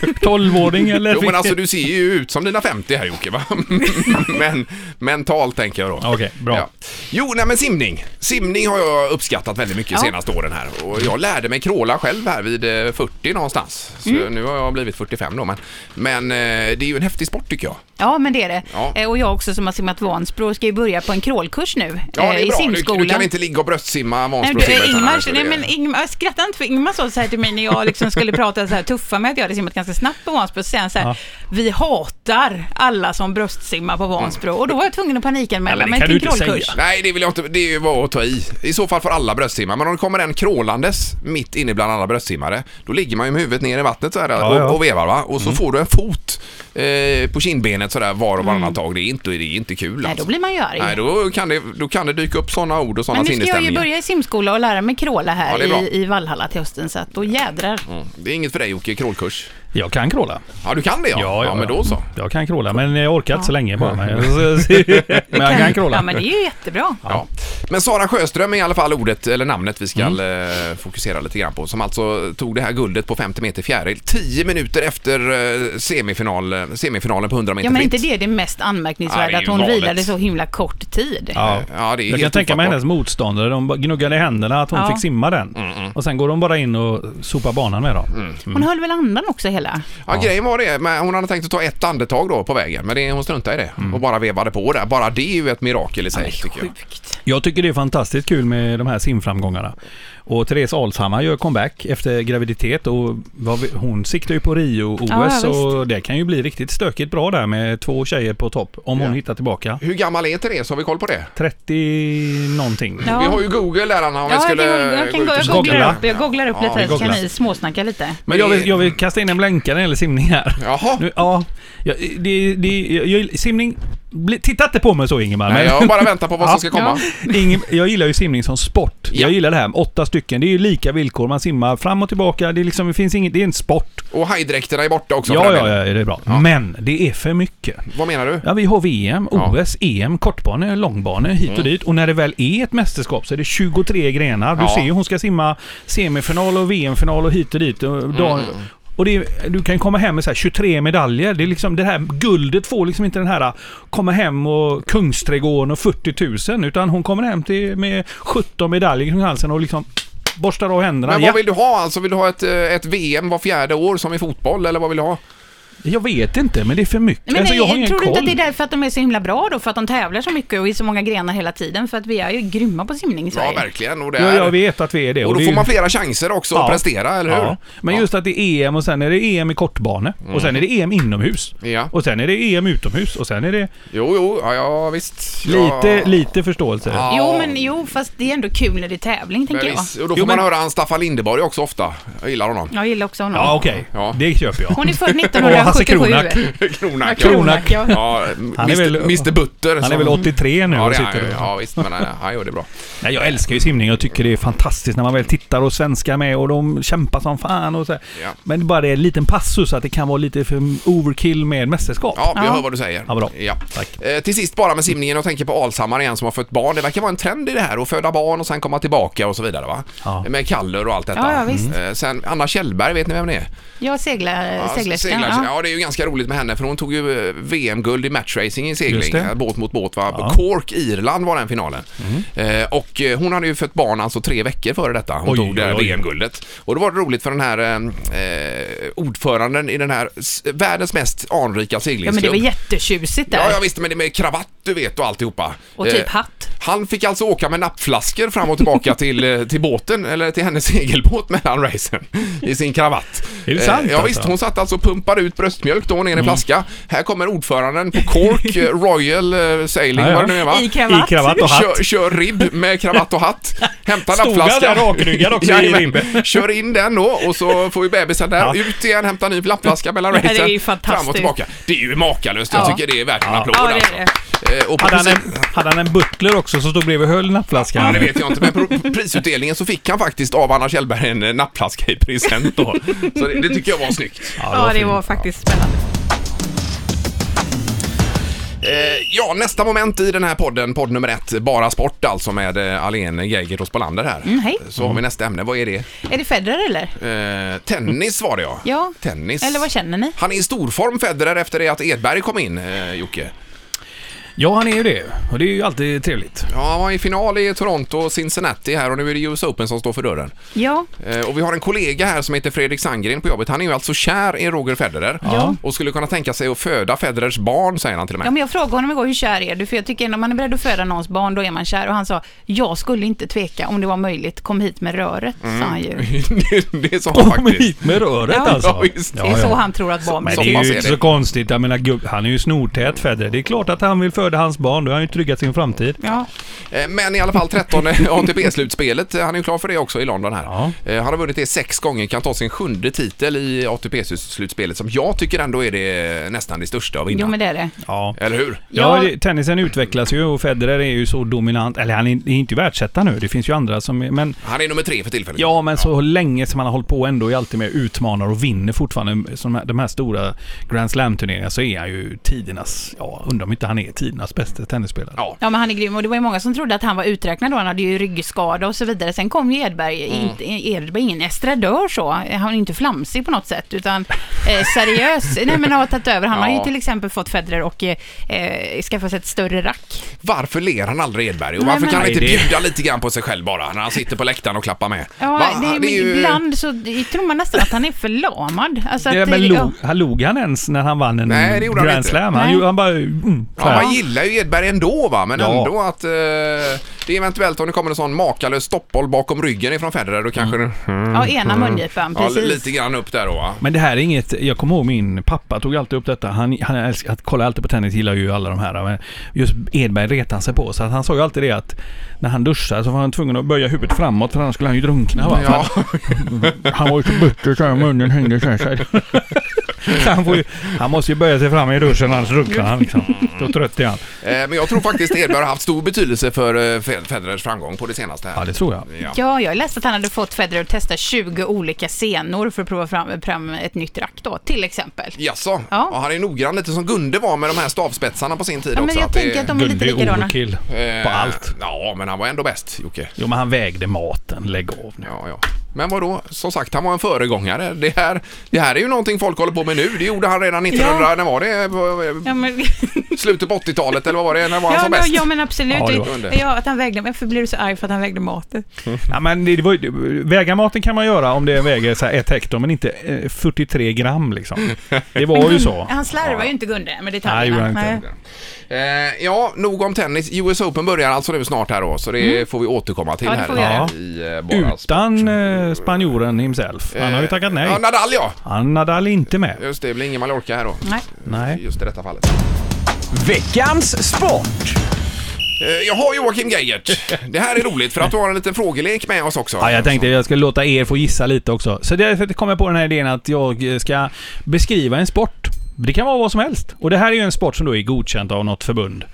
Speaker 6: 12-åring eller?
Speaker 2: Jo men alltså du ser ju ut som dina 50 här Jocke va? men mentalt tänker jag då.
Speaker 6: Okej, bra.
Speaker 2: Jo, nej men simning. Simning har jag uppskattat väldigt mycket
Speaker 5: Ja.
Speaker 2: senaste åren här. Och jag lärde mig kråla själv här vid eh, 40 någonstans. Så
Speaker 5: Mm.
Speaker 2: nu har jag blivit 45 då men. Men eh, det är ju en häftig sport tycker jag.
Speaker 5: Ja, men det är det.
Speaker 2: Ja.
Speaker 5: Eh, Och jag också som har simmat Vansbro ska ju börja på en crawlkurs nu
Speaker 2: Ja,
Speaker 5: eh,
Speaker 2: det
Speaker 5: i
Speaker 2: är bra.
Speaker 5: simskolan.
Speaker 2: Du, du kan inte ligga och bröstsimma
Speaker 5: Nej, du, eh,
Speaker 2: Vansbrosimmet.
Speaker 5: Ingmar, nej, men Ingmar, skratta inte för Ingmar sa så här till mig när jag liksom skulle prata så här tuffa med att jag hade simmat ganska snabbt på Vansbro. Så säger han så här,
Speaker 6: Ja.
Speaker 5: vi hatar alla som bröstsimmar på Vansbro.
Speaker 2: Mm.
Speaker 5: Och då var jag tvungen att panikanmäla
Speaker 6: Ja, men det
Speaker 5: mig
Speaker 6: kan
Speaker 5: till
Speaker 6: du inte
Speaker 5: crawlkurs.
Speaker 6: säga.
Speaker 2: Nej, det vill jag inte. Det var att ta i. I så fall får alla bröstsimma. Men om det kommer en krålandes mitt inne bland alla bröstsimmare, då ligger man ju med huvudet ner i vattnet så här och,
Speaker 6: ja.
Speaker 2: och vevar va. Och så får du en fot eh, på kindbenet så där var och varannan tag. Det är inte, det är inte kul
Speaker 5: Mm. Nej, då
Speaker 2: alltså.
Speaker 5: blir man ju arg.
Speaker 2: Nej, då kan, det, då kan det dyka upp sådana ord och
Speaker 5: men
Speaker 2: sådana
Speaker 5: nu ska jag ju
Speaker 2: sinnesstämningar.
Speaker 5: börja i simskola och lära mig kråla
Speaker 2: Ja,
Speaker 5: här
Speaker 2: det är bra.
Speaker 5: i, i Vallhalla till hösten, så att då jädrar.
Speaker 2: Mm. Det är inget för dig Jocke, krålkurs.
Speaker 6: Jag kan kråla.
Speaker 2: Ja, du kan det ja. men då så.
Speaker 6: Jag kan kråla, men jag orkar inte så länge bara. Men men jag kan
Speaker 5: Ja,
Speaker 6: kråla.
Speaker 5: men det är ju jättebra.
Speaker 2: Ja. Men Sara Sjöström är i alla fall ordet, eller namnet vi ska
Speaker 5: Mm.
Speaker 2: eh, fokusera lite grann på, som alltså tog det här guldet på 50 meter fjäril 10 minuter efter eh, semifinal, semifinalen på 100 meter
Speaker 5: Ja, men inte
Speaker 2: fritt.
Speaker 5: det är det mest
Speaker 2: Ja, det är
Speaker 5: anmärkningsvärda,
Speaker 2: ju
Speaker 5: att hon
Speaker 2: galet.
Speaker 5: vilade så himla kort tid.
Speaker 6: Ja.
Speaker 2: Ja, det är
Speaker 6: Jag kan
Speaker 2: helt
Speaker 6: tänka mig
Speaker 2: ofattbart. Mm,
Speaker 6: hennes motståndare. De bara gnuggade i händerna att hon
Speaker 5: Ja.
Speaker 6: fick simma den. Och sen går de bara in och sopar banan med dem.
Speaker 5: Hon höll väl andan också hela?
Speaker 2: Ja, grejen var det, men hon hade tänkt att ta ett andetag då på vägen, men det, hon struntade i det och bara vevade på där. Bara det är ju ett mirakel i sig, tycker jag.
Speaker 5: Mm. Sjukt.
Speaker 6: Jag tycker det är fantastiskt kul med de här simframgångarna. Och Therese Alshammar gör comeback efter graviditet och vad vi, hon siktar ju på
Speaker 5: Ja,
Speaker 6: Rio-OS
Speaker 5: ja, visst.
Speaker 6: och det kan ju bli riktigt stökigt bra där med två tjejer på topp om hon hittar tillbaka.
Speaker 2: Hur gammal är Therese? Har vi koll på det?
Speaker 6: 30 någonting.
Speaker 5: Ja.
Speaker 2: Vi har ju Google där Anna, om
Speaker 5: Ja,
Speaker 2: vi
Speaker 5: jag,
Speaker 2: skulle
Speaker 5: kan, jag,
Speaker 2: gå
Speaker 5: kan,
Speaker 2: ut och
Speaker 5: jag,
Speaker 2: kika.
Speaker 5: googlar
Speaker 6: googla.
Speaker 5: upp, jag googlar upp
Speaker 2: Ja,
Speaker 5: lite
Speaker 2: vi
Speaker 5: här så kan
Speaker 6: googlar.
Speaker 5: ni småsnacka lite.
Speaker 6: Men jag vill, jag vill kasta in en blänkare när det gäller simning här.
Speaker 2: Jaha.
Speaker 6: Nu, ja, jag- det, det, jag, jag, simning... bli- Titta inte på mig så Ingemar.
Speaker 2: Nej,
Speaker 6: men-
Speaker 2: jag bara väntar på vad som ska komma.
Speaker 6: Ingen, jag gillar ju simning som sport.
Speaker 2: Ja.
Speaker 6: Jag gillar det här med åtta stycken. Det är ju lika villkor. Man simmar fram och tillbaka. Det, är liksom, det finns inget, det är en sport.
Speaker 2: Och hajdräkterna är borta också. för
Speaker 6: Ja,
Speaker 2: den
Speaker 6: ja,
Speaker 2: delen.
Speaker 6: ja, det är bra. Men det är för mycket.
Speaker 2: Vad menar du?
Speaker 6: Ja, vi har VM,
Speaker 2: Ja. Mm.
Speaker 6: OS, EM, E kortbane, långbane, hit och dit. Och när det väl är ett mästerskap så är det 23 grenar. Du
Speaker 2: Ja.
Speaker 6: ser ju, hon ska simma semifinal och VM-final och hit och dit. Och, då,
Speaker 2: Mm.
Speaker 6: och det, är- du kan komma hem med så här 23 medaljer. Det, är liksom, det här guldet får liksom inte den här komma hem och Kungsträdgården och 40 000. Utan hon kommer hem till, med 17 medaljer kring halsen och liksom borstar av händerna.
Speaker 2: Men
Speaker 6: Ja,
Speaker 2: vad vill du ha alltså? Vill du ha ett, eh, ett VM var fjärde år som i fotboll eller vad vill du ha?
Speaker 6: Jag vet inte, men det är för mycket.
Speaker 5: Men
Speaker 6: alltså, jag har
Speaker 5: nej,
Speaker 6: ingen
Speaker 5: tror du
Speaker 6: koll.
Speaker 5: inte att det är därför att de är så himla bra då? För att de tävlar så mycket och i så många grenar hela tiden? För att vi är ju grymma på simning i
Speaker 2: Ja,
Speaker 5: Sverige.
Speaker 2: verkligen. Och, det
Speaker 6: Ja,
Speaker 2: är...
Speaker 6: jag vet att vi är det.
Speaker 2: och då
Speaker 6: det är
Speaker 2: får
Speaker 6: ju-
Speaker 2: man flera chanser också att prestera, eller hur? Mm.
Speaker 6: Ja. Men just att det är EM och sen är det EM i kortbane. Och sen är det EM inomhus.
Speaker 2: Ja.
Speaker 6: Och sen är det EM utomhus. Och sen är det
Speaker 2: Jo, jo, ja, ja visst.
Speaker 6: lite,
Speaker 2: ja.
Speaker 6: lite förståelse.
Speaker 2: Ja.
Speaker 5: Jo, men jo, fast det är ändå kul när det är tävling,
Speaker 2: Men
Speaker 5: tänker jag.
Speaker 2: visst. Och då får
Speaker 6: Jo, men-
Speaker 2: man höra han Staffan Lindeborg också ofta. Jag gillar honom.
Speaker 5: Jag gillar också honom.
Speaker 6: Ja, okej.
Speaker 2: Ja.
Speaker 6: Det köper jag.
Speaker 5: Hon är född
Speaker 6: Och Hasse
Speaker 5: 1977.
Speaker 6: Kronak.
Speaker 2: Kronak.
Speaker 5: Ja,
Speaker 6: Kronak.
Speaker 5: ja.
Speaker 2: Ja,
Speaker 6: Han är
Speaker 2: Mr,
Speaker 6: väl-
Speaker 2: Mr Butter.
Speaker 6: Han är
Speaker 2: som-
Speaker 6: väl 83 nu
Speaker 2: Ja,
Speaker 6: och
Speaker 2: det är han
Speaker 6: sitter
Speaker 2: ju.
Speaker 6: och...
Speaker 2: Ja, visst. Men eh, han gör det bra.
Speaker 6: Nej, jag älskar ju simning. Jag tycker det är fantastiskt när man väl tittar och svenskar med och de kämpar som fan och så. här.
Speaker 2: Ja.
Speaker 6: Men det är bara det är en liten passus att det kan vara lite för overkill med mästerskap.
Speaker 2: Ja, jag
Speaker 5: Ja.
Speaker 2: hör vad du säger.
Speaker 6: Ja, bra.
Speaker 2: Ja.
Speaker 6: Tack.
Speaker 2: Eh, till sist bara med simningen, jag tänker på Alshammar igen som har fött barn. Det verkar vara en trend i det här att föda barn och sen komma tillbaka och så vidare va?
Speaker 6: Ja.
Speaker 2: Med kallor och allt detta.
Speaker 5: Ja, ja, visst.
Speaker 2: Eh, sen Anna Kjellberg, vet ni vem det är?
Speaker 5: Jag seglar, seglerskan.
Speaker 2: seglars-
Speaker 5: ja.
Speaker 2: ja, det är ju ganska roligt med henne för hon tog ju eh, VM-guld i matchracing i
Speaker 6: Just
Speaker 2: segling.
Speaker 6: det.
Speaker 2: eh, Båt mot båt va?
Speaker 6: Ja. Mm.
Speaker 2: Cork, Irland var den finalen. Eh, och eh, hon hade ju fött barn alltså tre veckor före detta. Hon
Speaker 6: Oj,
Speaker 2: tog det här
Speaker 6: oj, oj.
Speaker 2: VM-guldet. Och då var det roligt för den här eh, eh, ordföranden i den här s- världens mest anrika
Speaker 5: ja, men det
Speaker 2: seglingsklubb.
Speaker 5: var jättetjusigt där.
Speaker 2: Ja, jag visste, men det med kravatt du vet och alltihopa.
Speaker 5: Och typ
Speaker 2: Eh,
Speaker 5: hatt.
Speaker 2: Han fick alltså åka med nappflaskor fram och tillbaka till, eh, till båten, eller till hennes segelbåt mellan racen i sin kravatt.
Speaker 6: Är det sant,
Speaker 2: Eh, Ja,
Speaker 6: alltså? Mm.
Speaker 2: visst, hon satt alltså och pumpade ut bröstmjölk då ner i en flaska. Här kommer ordföranden på Cork eh, Royal eh, Sailing,
Speaker 6: Ja, ja.
Speaker 2: vad det nu är va?
Speaker 5: I kravatt.
Speaker 6: I kravatt och hatt.
Speaker 2: Kör, kör ribb med kravatt och hatt. Hämtar
Speaker 6: Stod han
Speaker 2: nappflaskan.
Speaker 6: där rakryggad också i
Speaker 2: Jajamän.
Speaker 6: ribben?
Speaker 2: Kör in den då och så får vi bebisen där.
Speaker 6: Ja.
Speaker 2: Ut igen, hämtar ny nappflaska mellan
Speaker 5: Det här
Speaker 2: racen.
Speaker 5: är ju fantastiskt.
Speaker 2: Fram och tillbaka. Det är ju makalöst. Jag
Speaker 5: Ja.
Speaker 2: tycker det är värt en applåd
Speaker 5: Ja, det är
Speaker 2: alltså. Eh, Och på
Speaker 6: Hade han,
Speaker 2: precis-
Speaker 6: en, hade han en butler också som stod bredvid och höll nappflaskan?
Speaker 2: Ja, det vet jag inte, men på prisutdelningen så fick han faktiskt av Anna Kjellberg en eh, nappflaska i present då. Så det, det tycker jag var snyggt.
Speaker 5: Ja, det var faktiskt spännande.
Speaker 2: Eh, ja, nästa moment i den här podden, podd nummer ett, Bara Sport alltså med eh, Alén Geigert och Spolander här.
Speaker 5: Mm, hej.
Speaker 2: Så har vi nästa ämne, vad är det?
Speaker 5: Är det Federer eller?
Speaker 2: Eh, tennis var det ja.
Speaker 5: Ja.
Speaker 2: Tennis.
Speaker 5: Eller vad känner ni?
Speaker 2: Han är i storform Federer efter det att Edberg kom in, eh, Jocke.
Speaker 6: Ja, han är ju det. Och det är ju alltid trevligt.
Speaker 2: Ja, han var i final i Toronto och Cincinnati här och nu är det US Open som står för dörren.
Speaker 5: Ja,
Speaker 2: Eh, och vi har en kollega här som heter Fredrik Sandgren på jobbet. Han är ju alltså kär i Roger Federer
Speaker 6: Ja.
Speaker 2: och skulle kunna tänka sig att föda Federers barn, säger han till och med.
Speaker 5: ja men jag frågade honom igår, hur kär är du? För jag tycker ändå, om man är beredd att föda någons barn, då är man kär. Och han sa, jag skulle inte tveka om det var möjligt, kom hit med röret, sa han
Speaker 6: Mm.
Speaker 5: ju.
Speaker 2: det är så
Speaker 6: Kom
Speaker 2: faktiskt.
Speaker 6: hit med röret
Speaker 5: Ja.
Speaker 6: alltså.
Speaker 2: Ja, visst.
Speaker 5: Det är så han tror att barn
Speaker 6: Men
Speaker 5: är.
Speaker 2: Så
Speaker 6: det är
Speaker 2: man
Speaker 6: ju
Speaker 2: ser
Speaker 6: inte
Speaker 2: det.
Speaker 6: så konstigt. Jag menar, gubb- han är ju snortät Federer. Det är klart att han vill föda hans barn. Då har han ju tryggat sin framtid.
Speaker 5: Ja,
Speaker 2: Eh, Men i alla fall eh, 13 ATP-slutspelet, eh, han är ju klar för det också i London här.
Speaker 6: Ja.
Speaker 2: Eh, Han har vunnit det sex gånger, kan ta sin sjunde titel i ATP-slutspelet som jag tycker ändå är det eh, nästan det största att vinna.
Speaker 5: jo men det är det.
Speaker 6: Ja.
Speaker 2: Eller hur?
Speaker 6: Ja,
Speaker 5: Ja.
Speaker 6: det- tennisen utvecklas ju och Federer är ju så dominant. Eller han är är inte världsetta nu. Det finns ju andra som är, Men
Speaker 2: Han är nummer tre för tillfället.
Speaker 6: Ja, men så länge som man har hållit på ändå är alltid med och utmanar och vinner fortfarande som de här- de här stora Grand Slam-turneringarna så är han ju tidernas, ja, undrar om inte han är tidernas bästa tennisspelare.
Speaker 2: Ja.
Speaker 5: Ja men han är grym och det var ju många som trodde att han var uträknad då, han hade ju ryggskada och så vidare. Sen kom ju Edberg,
Speaker 6: Mm.
Speaker 5: inte, Edberg är ingen estradör så, han är inte flamsig på något sätt utan eh, seriös. Nej men har tagit över, han har
Speaker 2: Ja.
Speaker 5: ju till exempel fått Federer och eh, eh, skaffat sig ett större rack.
Speaker 2: Varför ler han aldrig Edberg? Och
Speaker 5: Nej,
Speaker 2: varför
Speaker 5: men-
Speaker 2: kan han inte
Speaker 6: Nej, det-
Speaker 2: bjuda lite grann på sig själv bara när han sitter på läktaren och klappar med? Va?
Speaker 5: Ja, det,
Speaker 2: Han
Speaker 5: men ibland så tror man nästan att han är förlamad. Alltså
Speaker 6: Ja,
Speaker 5: att,
Speaker 6: men
Speaker 5: ja,
Speaker 6: log, han log han ens när han vann en
Speaker 2: Nej, det gjorde han
Speaker 6: Grand
Speaker 2: inte.
Speaker 6: Slam? Han,
Speaker 5: Nej.
Speaker 6: gjorde- han bara... Mm, så
Speaker 2: Ja,
Speaker 6: här.
Speaker 2: man gillar ju Edberg ändå va, men
Speaker 6: Ja.
Speaker 2: ändå att eh, det är eventuellt om det kommer en sån makalös stoppboll bakom ryggen ifrån Federer då kanske det...
Speaker 6: Mm.
Speaker 5: ja, ena mungipan,
Speaker 2: Ja,
Speaker 5: precis.
Speaker 2: li- lite grann upp där då va.
Speaker 6: Men det här är inget, jag kommer ihåg min pappa tog alltid upp detta. Han, han, älskar, han kollar alltid på tennis, gillar ju alla de här. Men just Edberg retade han sig på. Så att han sa ju alltid det att när han duschade så var han tvungen att böja huvudet framåt för annars skulle han ju drunkna. Va?
Speaker 2: Ja.
Speaker 6: Han var ju så butter så här, munnen hängde så här. Så här. Så han, får ju, han måste ju böja sig fram i duschen annars drunknar han liksom. Då trött är han.
Speaker 2: Eh, Men jag tror faktiskt Edberg har haft stor betydelse för eh, Fe- Federers framgång på det senaste
Speaker 6: Ja,
Speaker 2: här.
Speaker 6: det tror jag.
Speaker 2: Ja.
Speaker 5: Ja, jag läste att han hade fått Federer att testa 20 olika senor för att prova fram, fram ett nytt rack då, till exempel.
Speaker 2: Jaså? Ja.
Speaker 5: Ja.
Speaker 2: han är noggrann lite som Gunde var med de här stavspetsarna på sin tid
Speaker 5: Ja, men
Speaker 2: också.
Speaker 5: jag
Speaker 2: det-
Speaker 5: tänker att de är lite
Speaker 6: Gunde är
Speaker 5: likadana.
Speaker 6: overkill på
Speaker 2: eh,
Speaker 6: allt.
Speaker 2: Ja, men han var ändå bäst, Jocke.
Speaker 6: Jo, men han vägde maten. Lägg av nu.
Speaker 2: Ja, ja. Men vadå? Som sagt, han var en föregångare. Det här, det här är ju någonting folk håller på med nu. Det gjorde han redan 1900, när var det? På-
Speaker 5: Ja, men,
Speaker 2: Slutet på 80-talet eller vad var det? När var han
Speaker 5: ja,
Speaker 2: som
Speaker 5: ja,
Speaker 2: bäst?
Speaker 5: ja, men absolut.
Speaker 6: Ja, det
Speaker 2: var
Speaker 5: Ja,
Speaker 2: under.
Speaker 5: att han vägde, varför blir du så arg för att han vägde maten?
Speaker 6: Ja, men det, det var, ju- väga maten kan man göra om det väger så här ett hektar, men inte eh, 43 gram liksom. Det var ju så.
Speaker 4: Mm.
Speaker 5: Han slarvar ju inte Gunde med
Speaker 6: Nej, gjorde
Speaker 5: detaljerna.
Speaker 6: han inte.
Speaker 2: Eh, ja, nog om tennis. US Open börjar alltså nu snart här då, så det får vi återkomma till
Speaker 5: Mm. Ja, det
Speaker 2: här
Speaker 5: får vi göra.
Speaker 2: i eh, Bara Sport. Eh,
Speaker 6: Utan eh, spanjoren himself. Han har ju tackat nej.
Speaker 2: Ja, Eh, Nadal ja!
Speaker 6: Han Nadal är inte med.
Speaker 2: Just det, det blir ingen Mallorca här då.
Speaker 5: Nej.
Speaker 6: Nej.
Speaker 2: Just i detta fallet.
Speaker 4: Veckans sport.
Speaker 2: Eh, Jaha Joakim Geijert, det här är roligt för att du har en liten frågelek med oss också.
Speaker 6: Ja, jag tänkte jag skulle låta er få gissa lite också. Så därför kom jag på den här idén att jag eh, ska beskriva en sport. Det kan vara vad som helst. Och det här är ju en sport som då är godkänd av något förbund.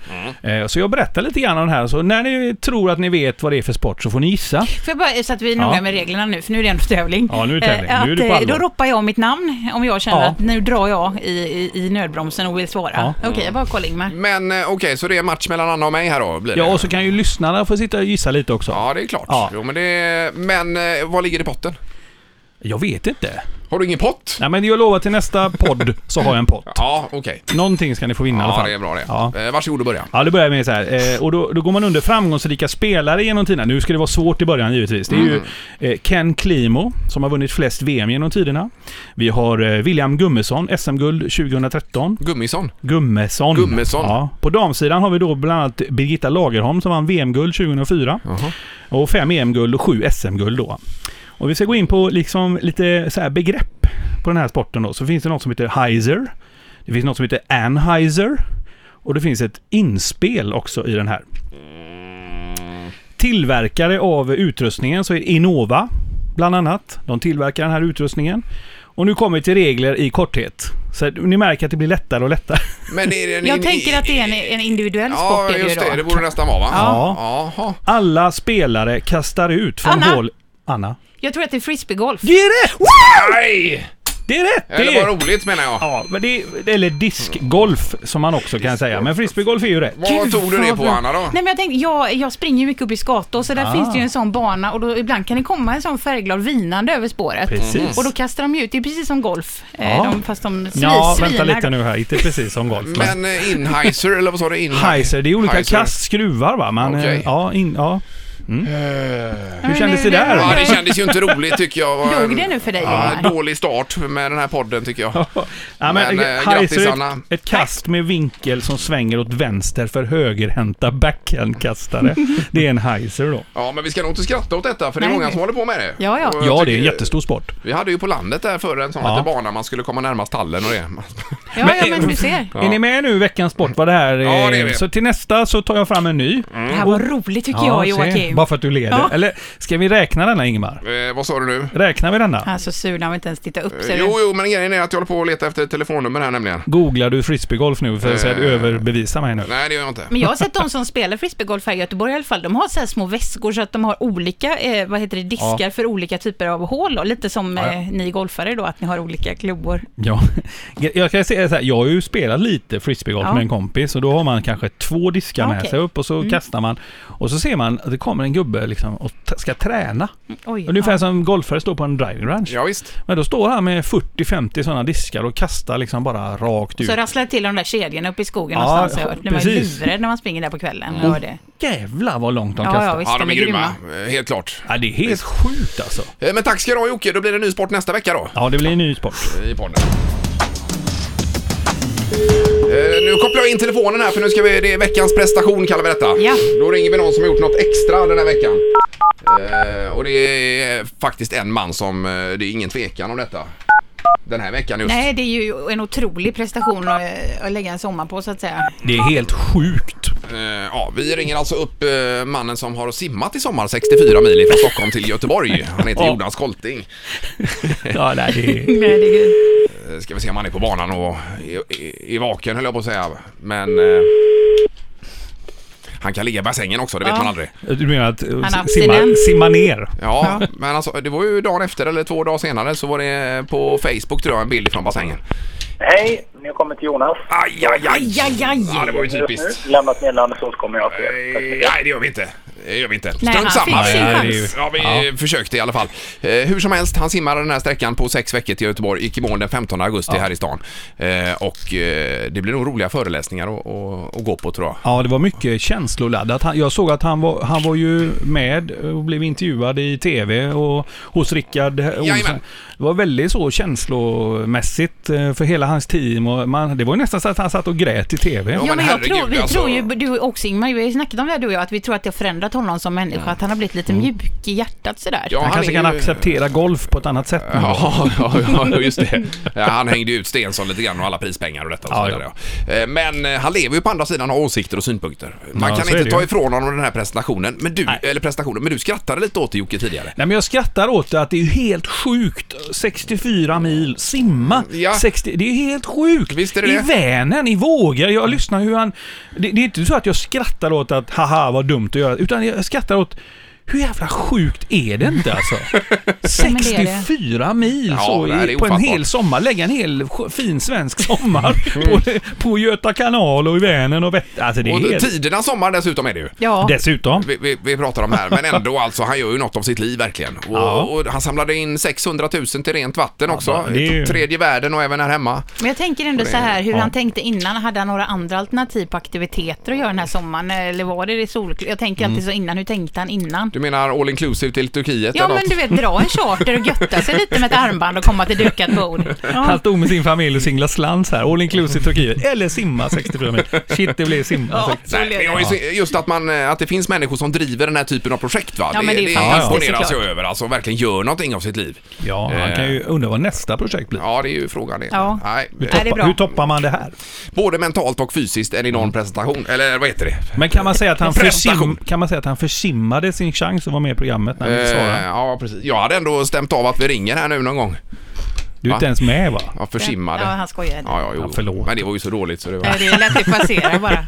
Speaker 2: Mm.
Speaker 6: Eh, Så jag berättar lite grann om den här. Så när ni tror att ni vet vad det är för sport så får ni gissa.
Speaker 5: Får jag bara, så att vi är
Speaker 6: Ja.
Speaker 5: noga med reglerna nu, för nu är det ändå tävling.
Speaker 6: Ja, nu är det tävling.
Speaker 5: Eh,
Speaker 6: Nu är det på
Speaker 5: att, eh,
Speaker 6: allvar.
Speaker 5: Då ropar jag mitt namn om jag känner
Speaker 6: Ja.
Speaker 5: att nu drar jag i, i, i nödbromsen och vill svara.
Speaker 6: Ja.
Speaker 5: Okej, jag bara kollar Ingmar.
Speaker 2: Men eh, okej, så det är match mellan Anna och mig här då? Blir det?
Speaker 6: Ja, och så kan ju lyssnarna få sitta och gissa lite också.
Speaker 2: ja, det är klart.
Speaker 6: Ja.
Speaker 2: Jo, men det... men eh, vad ligger i potten?
Speaker 6: Jag vet inte.
Speaker 2: Har du ingen pott?
Speaker 6: Nej, men jag lovar till nästa podd så har jag en pott.
Speaker 2: Ja, okej.
Speaker 6: Någonting ska ni få vinna i alla
Speaker 2: Ja,
Speaker 6: fall.
Speaker 2: det är bra det.
Speaker 6: Ja.
Speaker 2: Eh, Varsågod och börja.
Speaker 6: Ja, det börjar med så här. Eh, och då, då går man under framgångsrika spelare genom tiderna. Nu ska det vara svårt i början givetvis. Det är
Speaker 2: Mm.
Speaker 6: ju eh, Ken Klimo, som har vunnit flest VM genom tiderna. Vi har eh, William Gummesson, SM-guld 2013.
Speaker 2: Gummison.
Speaker 6: Gummesson.
Speaker 2: Gummesson.
Speaker 6: Ja. På damsidan har vi då bland annat Birgitta Lagerholm som vann VM-guld 2004. Och fem EM-guld och sju SM-guld då. Och vi ska gå in på liksom lite så här begrepp på den här sporten då. Så finns det något som heter Heiser. Det finns något som heter Anheiser. Och det finns ett inspel också i den här. Tillverkare av utrustningen så är Innova bland annat. De tillverkar den här utrustningen. Och nu kommer vi till regler i korthet. Så att ni märker att det blir lättare och lättare.
Speaker 2: Men är det en
Speaker 5: Jag
Speaker 2: in-
Speaker 5: tänker att det är en, en individuell
Speaker 2: Ja,
Speaker 5: sport. är
Speaker 2: just
Speaker 5: ju då.
Speaker 2: det. Det borde nästan vara va?
Speaker 6: Ja.
Speaker 2: Jaha.
Speaker 6: Alla spelare kastar ut från
Speaker 5: Anna!
Speaker 6: hål... Anna.
Speaker 5: Jag tror att det är frisbeegolf.
Speaker 6: Det är rätt!
Speaker 2: Nej!
Speaker 6: Det är rätt! det
Speaker 2: Eller
Speaker 6: är-
Speaker 2: vad Eh, roligt menar jag.
Speaker 6: Ja, men det är, eller diskgolf som man också kan säga. Men frisbeegolf är ju rätt.
Speaker 2: Vad
Speaker 5: Gud,
Speaker 2: tog du det
Speaker 5: vad
Speaker 2: på
Speaker 5: bra.
Speaker 2: Anna då?
Speaker 5: Nej men jag tänkte, jag, jag springer ju mycket upp i Skato så där
Speaker 6: Ah.
Speaker 5: finns det ju en sån bana och då, ibland kan det komma en sån färgglad vinande över spåret.
Speaker 6: Precis.
Speaker 5: Och då kastar de ju ut, det är precis som golf, eh,
Speaker 6: Ja.
Speaker 5: de, fast de svi,
Speaker 6: Ja, vänta
Speaker 5: svinar.
Speaker 6: lite nu här. Inte precis som golf. Men
Speaker 2: Men eh, inhyser eller vad sa du? In-
Speaker 6: heiser, det är olika
Speaker 2: Heiser.
Speaker 6: kast, skruvar va? Man, eh,
Speaker 2: Okej. Eh.
Speaker 6: Ja, in, ja. Mm.
Speaker 5: Nej,
Speaker 6: Hur
Speaker 5: men
Speaker 6: kändes det
Speaker 2: Ja,
Speaker 6: där?
Speaker 2: det kändes ju inte roligt tycker jag. var en-
Speaker 5: Dog det nu för dig
Speaker 2: Ja,
Speaker 5: Johan?
Speaker 2: dålig start med den här podden tycker jag.
Speaker 6: Ja,
Speaker 2: Men, eh,
Speaker 6: heiser
Speaker 2: grattis,
Speaker 6: är ett-
Speaker 2: Anna.
Speaker 6: Ett kast med vinkel som svänger åt vänster för högerhänta backhandkastare. Det är en heiser då.
Speaker 2: Ja, men vi ska nog inte skratta åt detta för det är
Speaker 5: Nej.
Speaker 2: många som håller på med det.
Speaker 5: Ja, ja.
Speaker 2: Och jag
Speaker 6: Ja, det är
Speaker 2: tycker-
Speaker 6: en jättestor sport.
Speaker 2: Vi hade ju på landet där förr en sån
Speaker 6: Ja.
Speaker 2: liten bana man skulle komma närmast tallen och det.
Speaker 5: Ja,
Speaker 6: Men-
Speaker 5: men, ja, men du ser.
Speaker 2: Ja.
Speaker 6: Är ni med nu i veckans sport? Vad det här är?
Speaker 2: Ja, det är vi. Mm.
Speaker 6: Så till nästa så tar jag fram en ny.
Speaker 5: Det här var roligt tycker jag
Speaker 6: se.
Speaker 5: Joakim.
Speaker 6: Bara för att du leder.
Speaker 5: Ja.
Speaker 6: Eller ska vi räkna denna Ingmar?
Speaker 2: Eh, vad sa du nu?
Speaker 6: Räknar vi denna?
Speaker 5: Han är så sur när han Alltså, inte ens tittar
Speaker 6: Eh,
Speaker 5: upp. Ser
Speaker 2: Jo,
Speaker 5: du?
Speaker 2: jo, men grejen är att jag håller på och letar efter ett telefonnummer här nämligen.
Speaker 6: Googlar du frisbeegolf nu för att
Speaker 2: Eh.
Speaker 6: överbevisa mig nu?
Speaker 2: Nej, det gör jag inte.
Speaker 5: Men jag har sett de som spelar frisbeegolf här i Göteborg i alla fall. De har så här små väskor så att de har olika, eh, vad heter det, diskar
Speaker 6: Ja.
Speaker 5: för olika typer av hål. Då. Lite som
Speaker 6: Ja, ja.
Speaker 5: eh, ni golfare då, att ni har olika klubbor.
Speaker 6: Ja. Jag kan säga så här, jag har ju spelat lite frisbeegolf
Speaker 5: Ja.
Speaker 6: med en kompis och då har man kanske två diskar med
Speaker 5: Okej. Mm.
Speaker 6: sig upp och så kastar man och så ser man att det kommer en gubbe liksom och t- ska träna.
Speaker 5: Oj,
Speaker 6: Ungefär
Speaker 5: Mm. ja.
Speaker 6: som golfare står på en driving range.
Speaker 2: Ja, visst.
Speaker 6: Men då står han med 40-50 sådana diskar och kastar liksom bara rakt ut.
Speaker 5: Så rasslar det till de där kedjorna uppe i skogen
Speaker 6: Ja,
Speaker 5: någonstans har jag hört. När man är
Speaker 6: precis.
Speaker 5: livrädd när man springer där på kvällen. Jag hör det.
Speaker 6: Jävlar vad långt de
Speaker 5: Ja, ja,
Speaker 6: kastar.
Speaker 5: visst,
Speaker 2: Ja, de är grymma. Eh, Helt klart.
Speaker 6: Ja, det är helt sjukt alltså.
Speaker 2: Eh, Men tack ska du ha Jocke, då blir det ny sport nästa vecka då.
Speaker 6: Ja, det blir en ny sport.
Speaker 2: i podden. Eh, Nu kopplar jag in telefonen här för nu ska vi, det är veckans prestation kallar vi detta.
Speaker 5: Ja.
Speaker 2: Då ringer vi någon som har gjort något extra den här veckan. Eh, och det är faktiskt en man som, eh, det är ingen tvekan om detta. Den här veckan just.
Speaker 5: Nej, det är ju en otrolig prestation att, att lägga en sommar på så att säga.
Speaker 6: Det är helt sjukt.
Speaker 2: Eh, ja, vi ringer alltså upp eh, mannen som har simmat i sommar 64 mil från Stockholm till Göteborg. Han heter
Speaker 6: Ja.
Speaker 2: Jonas Kolting.
Speaker 6: Ja, nej, det är...
Speaker 5: Herregud.
Speaker 2: Eh, Ska vi se om han är på banan och i, i, i vaken höll jag på att säga. Men... Eh, han kan ligga i bassängen också, det vet
Speaker 5: Ja.
Speaker 2: man aldrig.
Speaker 6: Du menar att eh,
Speaker 5: är
Speaker 6: simma,
Speaker 5: abstinent.
Speaker 6: simma ner?
Speaker 2: Ja, men alltså, det var ju dagen efter eller två dagar senare så var det eh, på Facebook tror jag en bild från bassängen.
Speaker 1: Hej, ni har kommit till Jonas.
Speaker 2: Aj, aj, aj!
Speaker 5: Aj, aj.
Speaker 2: Ja, det var ju typiskt.
Speaker 1: Just nu, lämnat meddelande så kommer jag till er. Tack så mycket.
Speaker 2: Eh, Nej, det gör vi inte. Det gör vi inte.
Speaker 5: Nej,
Speaker 2: Strunt
Speaker 5: han
Speaker 2: samma.
Speaker 5: fick sin
Speaker 2: Vi-
Speaker 6: Ja, det är ju-
Speaker 5: chans.
Speaker 2: Ja, vi eh, försökte i alla fall. Eh, hur som helst, han simmade den här sträckan på sex veckor till Göteborg, gick i mål den 15 augusti här i stan. Eh, och eh, det blir nog roliga föreläsningar att- att att gå på tror jag.
Speaker 6: Ja, det var mycket känsloladdat. Han, jag såg att han var, han var ju med och blev intervjuad i tv och hos Rickard Olsson.
Speaker 2: Jajamän.
Speaker 6: Det var väldigt så känslomässigt eh, för hela hans team. Och man, det var ju nästan så att han satt och grät i
Speaker 2: Ja,
Speaker 6: tv.
Speaker 5: Ja,
Speaker 2: men
Speaker 5: men jag
Speaker 2: herregud,
Speaker 5: tror, vi
Speaker 2: alltså.
Speaker 5: tror ju, du också Ingmar, vi har ju snackat om det här du och jag, att vi tror att det har förändrat honom som människa, att han har blivit lite mjuk i hjärtat sådär.
Speaker 2: Mm. Ja,
Speaker 6: Han kanske
Speaker 2: är
Speaker 6: kan
Speaker 2: ju-
Speaker 6: acceptera golf på ett annat sätt nu.
Speaker 2: Ja, ja, ja, just det. Ja, Han hängde ju ut Stensson lite grann och alla prispengar och detta och så
Speaker 6: Ja,
Speaker 2: vidare. ja. Eh, Men eh, han lever ju på andra sidan och har åsikter och synpunkter. Man
Speaker 6: Ja,
Speaker 2: kan
Speaker 6: så är
Speaker 2: inte
Speaker 6: det
Speaker 2: ta
Speaker 6: ju.
Speaker 2: ifrån honom den här presentationen, men du,
Speaker 6: Nej.
Speaker 2: eller prestationen, men du skrattade lite åt det Jocke tidigare.
Speaker 6: Nej, men jag skrattar åt det att det är ju helt sjukt. 64 mil simma.
Speaker 2: Ja.
Speaker 6: 60, det är ju helt sjukt.
Speaker 2: Visst är det
Speaker 6: I
Speaker 2: det.
Speaker 6: Vänern, i vågor. Jag lyssnar hur han... Det, det är inte så att jag skrattar åt att haha vad dumt att göra. Utan jag skrattar åt hur jävla sjukt är det inte alltså?
Speaker 5: men det är det.
Speaker 6: 64 mil
Speaker 2: Ja,
Speaker 6: så
Speaker 2: det här är
Speaker 6: i, på en
Speaker 2: ofattbart.
Speaker 6: hel sommar. Lägga en hel sj- fin svensk sommar på, på Göta kanal och i Vänern och Vättern. Alltså det är
Speaker 2: Och
Speaker 6: helt...
Speaker 2: tiderna sommar dessutom är det ju.
Speaker 5: Ja.
Speaker 6: Dessutom.
Speaker 2: Vi, vi, vi pratar om här, men ändå alltså, han gör ju något av sitt liv verkligen. Och,
Speaker 6: Ja.
Speaker 2: och han samlade in 600 000 till rent vatten också.
Speaker 6: men det är ju-
Speaker 2: Tredje världen och även här hemma.
Speaker 5: Men jag tänker ändå så här, hur
Speaker 6: ja.
Speaker 5: han tänkte innan, hade han några andra alternativ på aktiviteter att göra den här sommaren, eller var det det solklart? Jag tänker alltid så innan, hur tänkte han innan?
Speaker 2: Mm. Du menar all inclusive till Turkiet
Speaker 5: Ja
Speaker 2: eller
Speaker 5: men
Speaker 2: något?
Speaker 5: du vet, dra en charter och götta sig lite med ett armband och komma till dukat bord.
Speaker 6: Han
Speaker 5: Ja.
Speaker 6: stod med sin familj och singlade slans här. All inclusive Turkiet. Eller simma 64 mil. Shit, det blev simma.
Speaker 5: Ja,
Speaker 6: 64.
Speaker 5: så
Speaker 2: Nej, men
Speaker 5: blev
Speaker 2: jag
Speaker 5: det.
Speaker 2: är så- just att, man, eh, att det finns människor som driver den här typen av projekt. Va?
Speaker 5: Ja, men det är fantastiskt,
Speaker 2: imponeras jag
Speaker 5: såklart.
Speaker 2: över. Alltså verkligen gör någonting av sitt liv.
Speaker 6: Ja, han kan ju undra vad nästa projekt blir.
Speaker 2: Ja, det är ju frågan det.
Speaker 5: Ja.
Speaker 2: Nej,
Speaker 6: Hur,
Speaker 2: eh,
Speaker 5: det är
Speaker 6: toppa,
Speaker 5: bra.
Speaker 6: hur toppar man det här?
Speaker 2: både mentalt och fysiskt en enorm prestation. Eller vad heter det?
Speaker 6: Men kan man säga att han,
Speaker 2: Prestation.
Speaker 6: försim, kan man säga att han försimmade sin chans att vara med i programmet när han
Speaker 2: Eh,
Speaker 6: svarade?
Speaker 2: ja, precis. Jag hade ändå stämt av att vi ringer här nu någon gång.
Speaker 6: Du är
Speaker 2: Va?
Speaker 6: inte ens med va?
Speaker 2: Ja, försimmade.
Speaker 5: Ja, han skojade.
Speaker 2: Ja, ja, jo.
Speaker 6: Ja, förlåt.
Speaker 2: Men det var ju så dåligt så det var...
Speaker 5: Eh, Det lät det passera bara.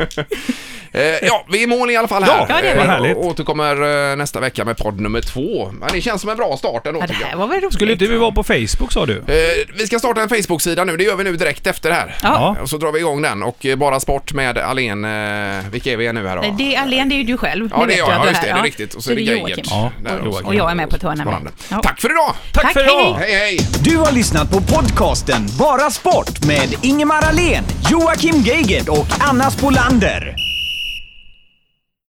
Speaker 2: Eh, ja, vi är i mål i alla fall här.
Speaker 5: Ja, det är vi.
Speaker 2: Eh,
Speaker 6: Vad härligt.
Speaker 2: och återkommer eh, nästa vecka med podd nummer två. Men det känns som en bra start ändå
Speaker 5: Ja, det
Speaker 2: tycker
Speaker 5: här
Speaker 2: jag.
Speaker 5: var väl roligt.
Speaker 6: Skulle inte vi vara på Facebook sa du?
Speaker 2: Eh, vi ska starta en Facebook-sida nu, det gör vi nu direkt efter det här.
Speaker 5: Ja.
Speaker 2: Och så drar vi igång den och eh, Bara Sport med Alen. Eh, vilka är vi nu här då?
Speaker 5: Nej, Det är Alén, det är ju du själv.
Speaker 2: Ja, det är
Speaker 5: vet
Speaker 2: jag.
Speaker 5: ju att
Speaker 2: Ja,
Speaker 5: du
Speaker 2: just det. Det
Speaker 5: ja.
Speaker 2: är riktigt. Och så är det Geigert.
Speaker 5: Joakim.
Speaker 2: Där
Speaker 6: och
Speaker 2: också.
Speaker 5: Och jag är med på tårna
Speaker 2: Spännande.
Speaker 5: med. Ja.
Speaker 2: Tack för idag!
Speaker 6: Tack,
Speaker 5: Tack,
Speaker 6: för idag!
Speaker 5: hej.
Speaker 2: Hej, hej!
Speaker 4: Du har lyssnat på podcasten Bara Sport med Ingemar Ahlén, Joakim Geigert och Anna Spolander.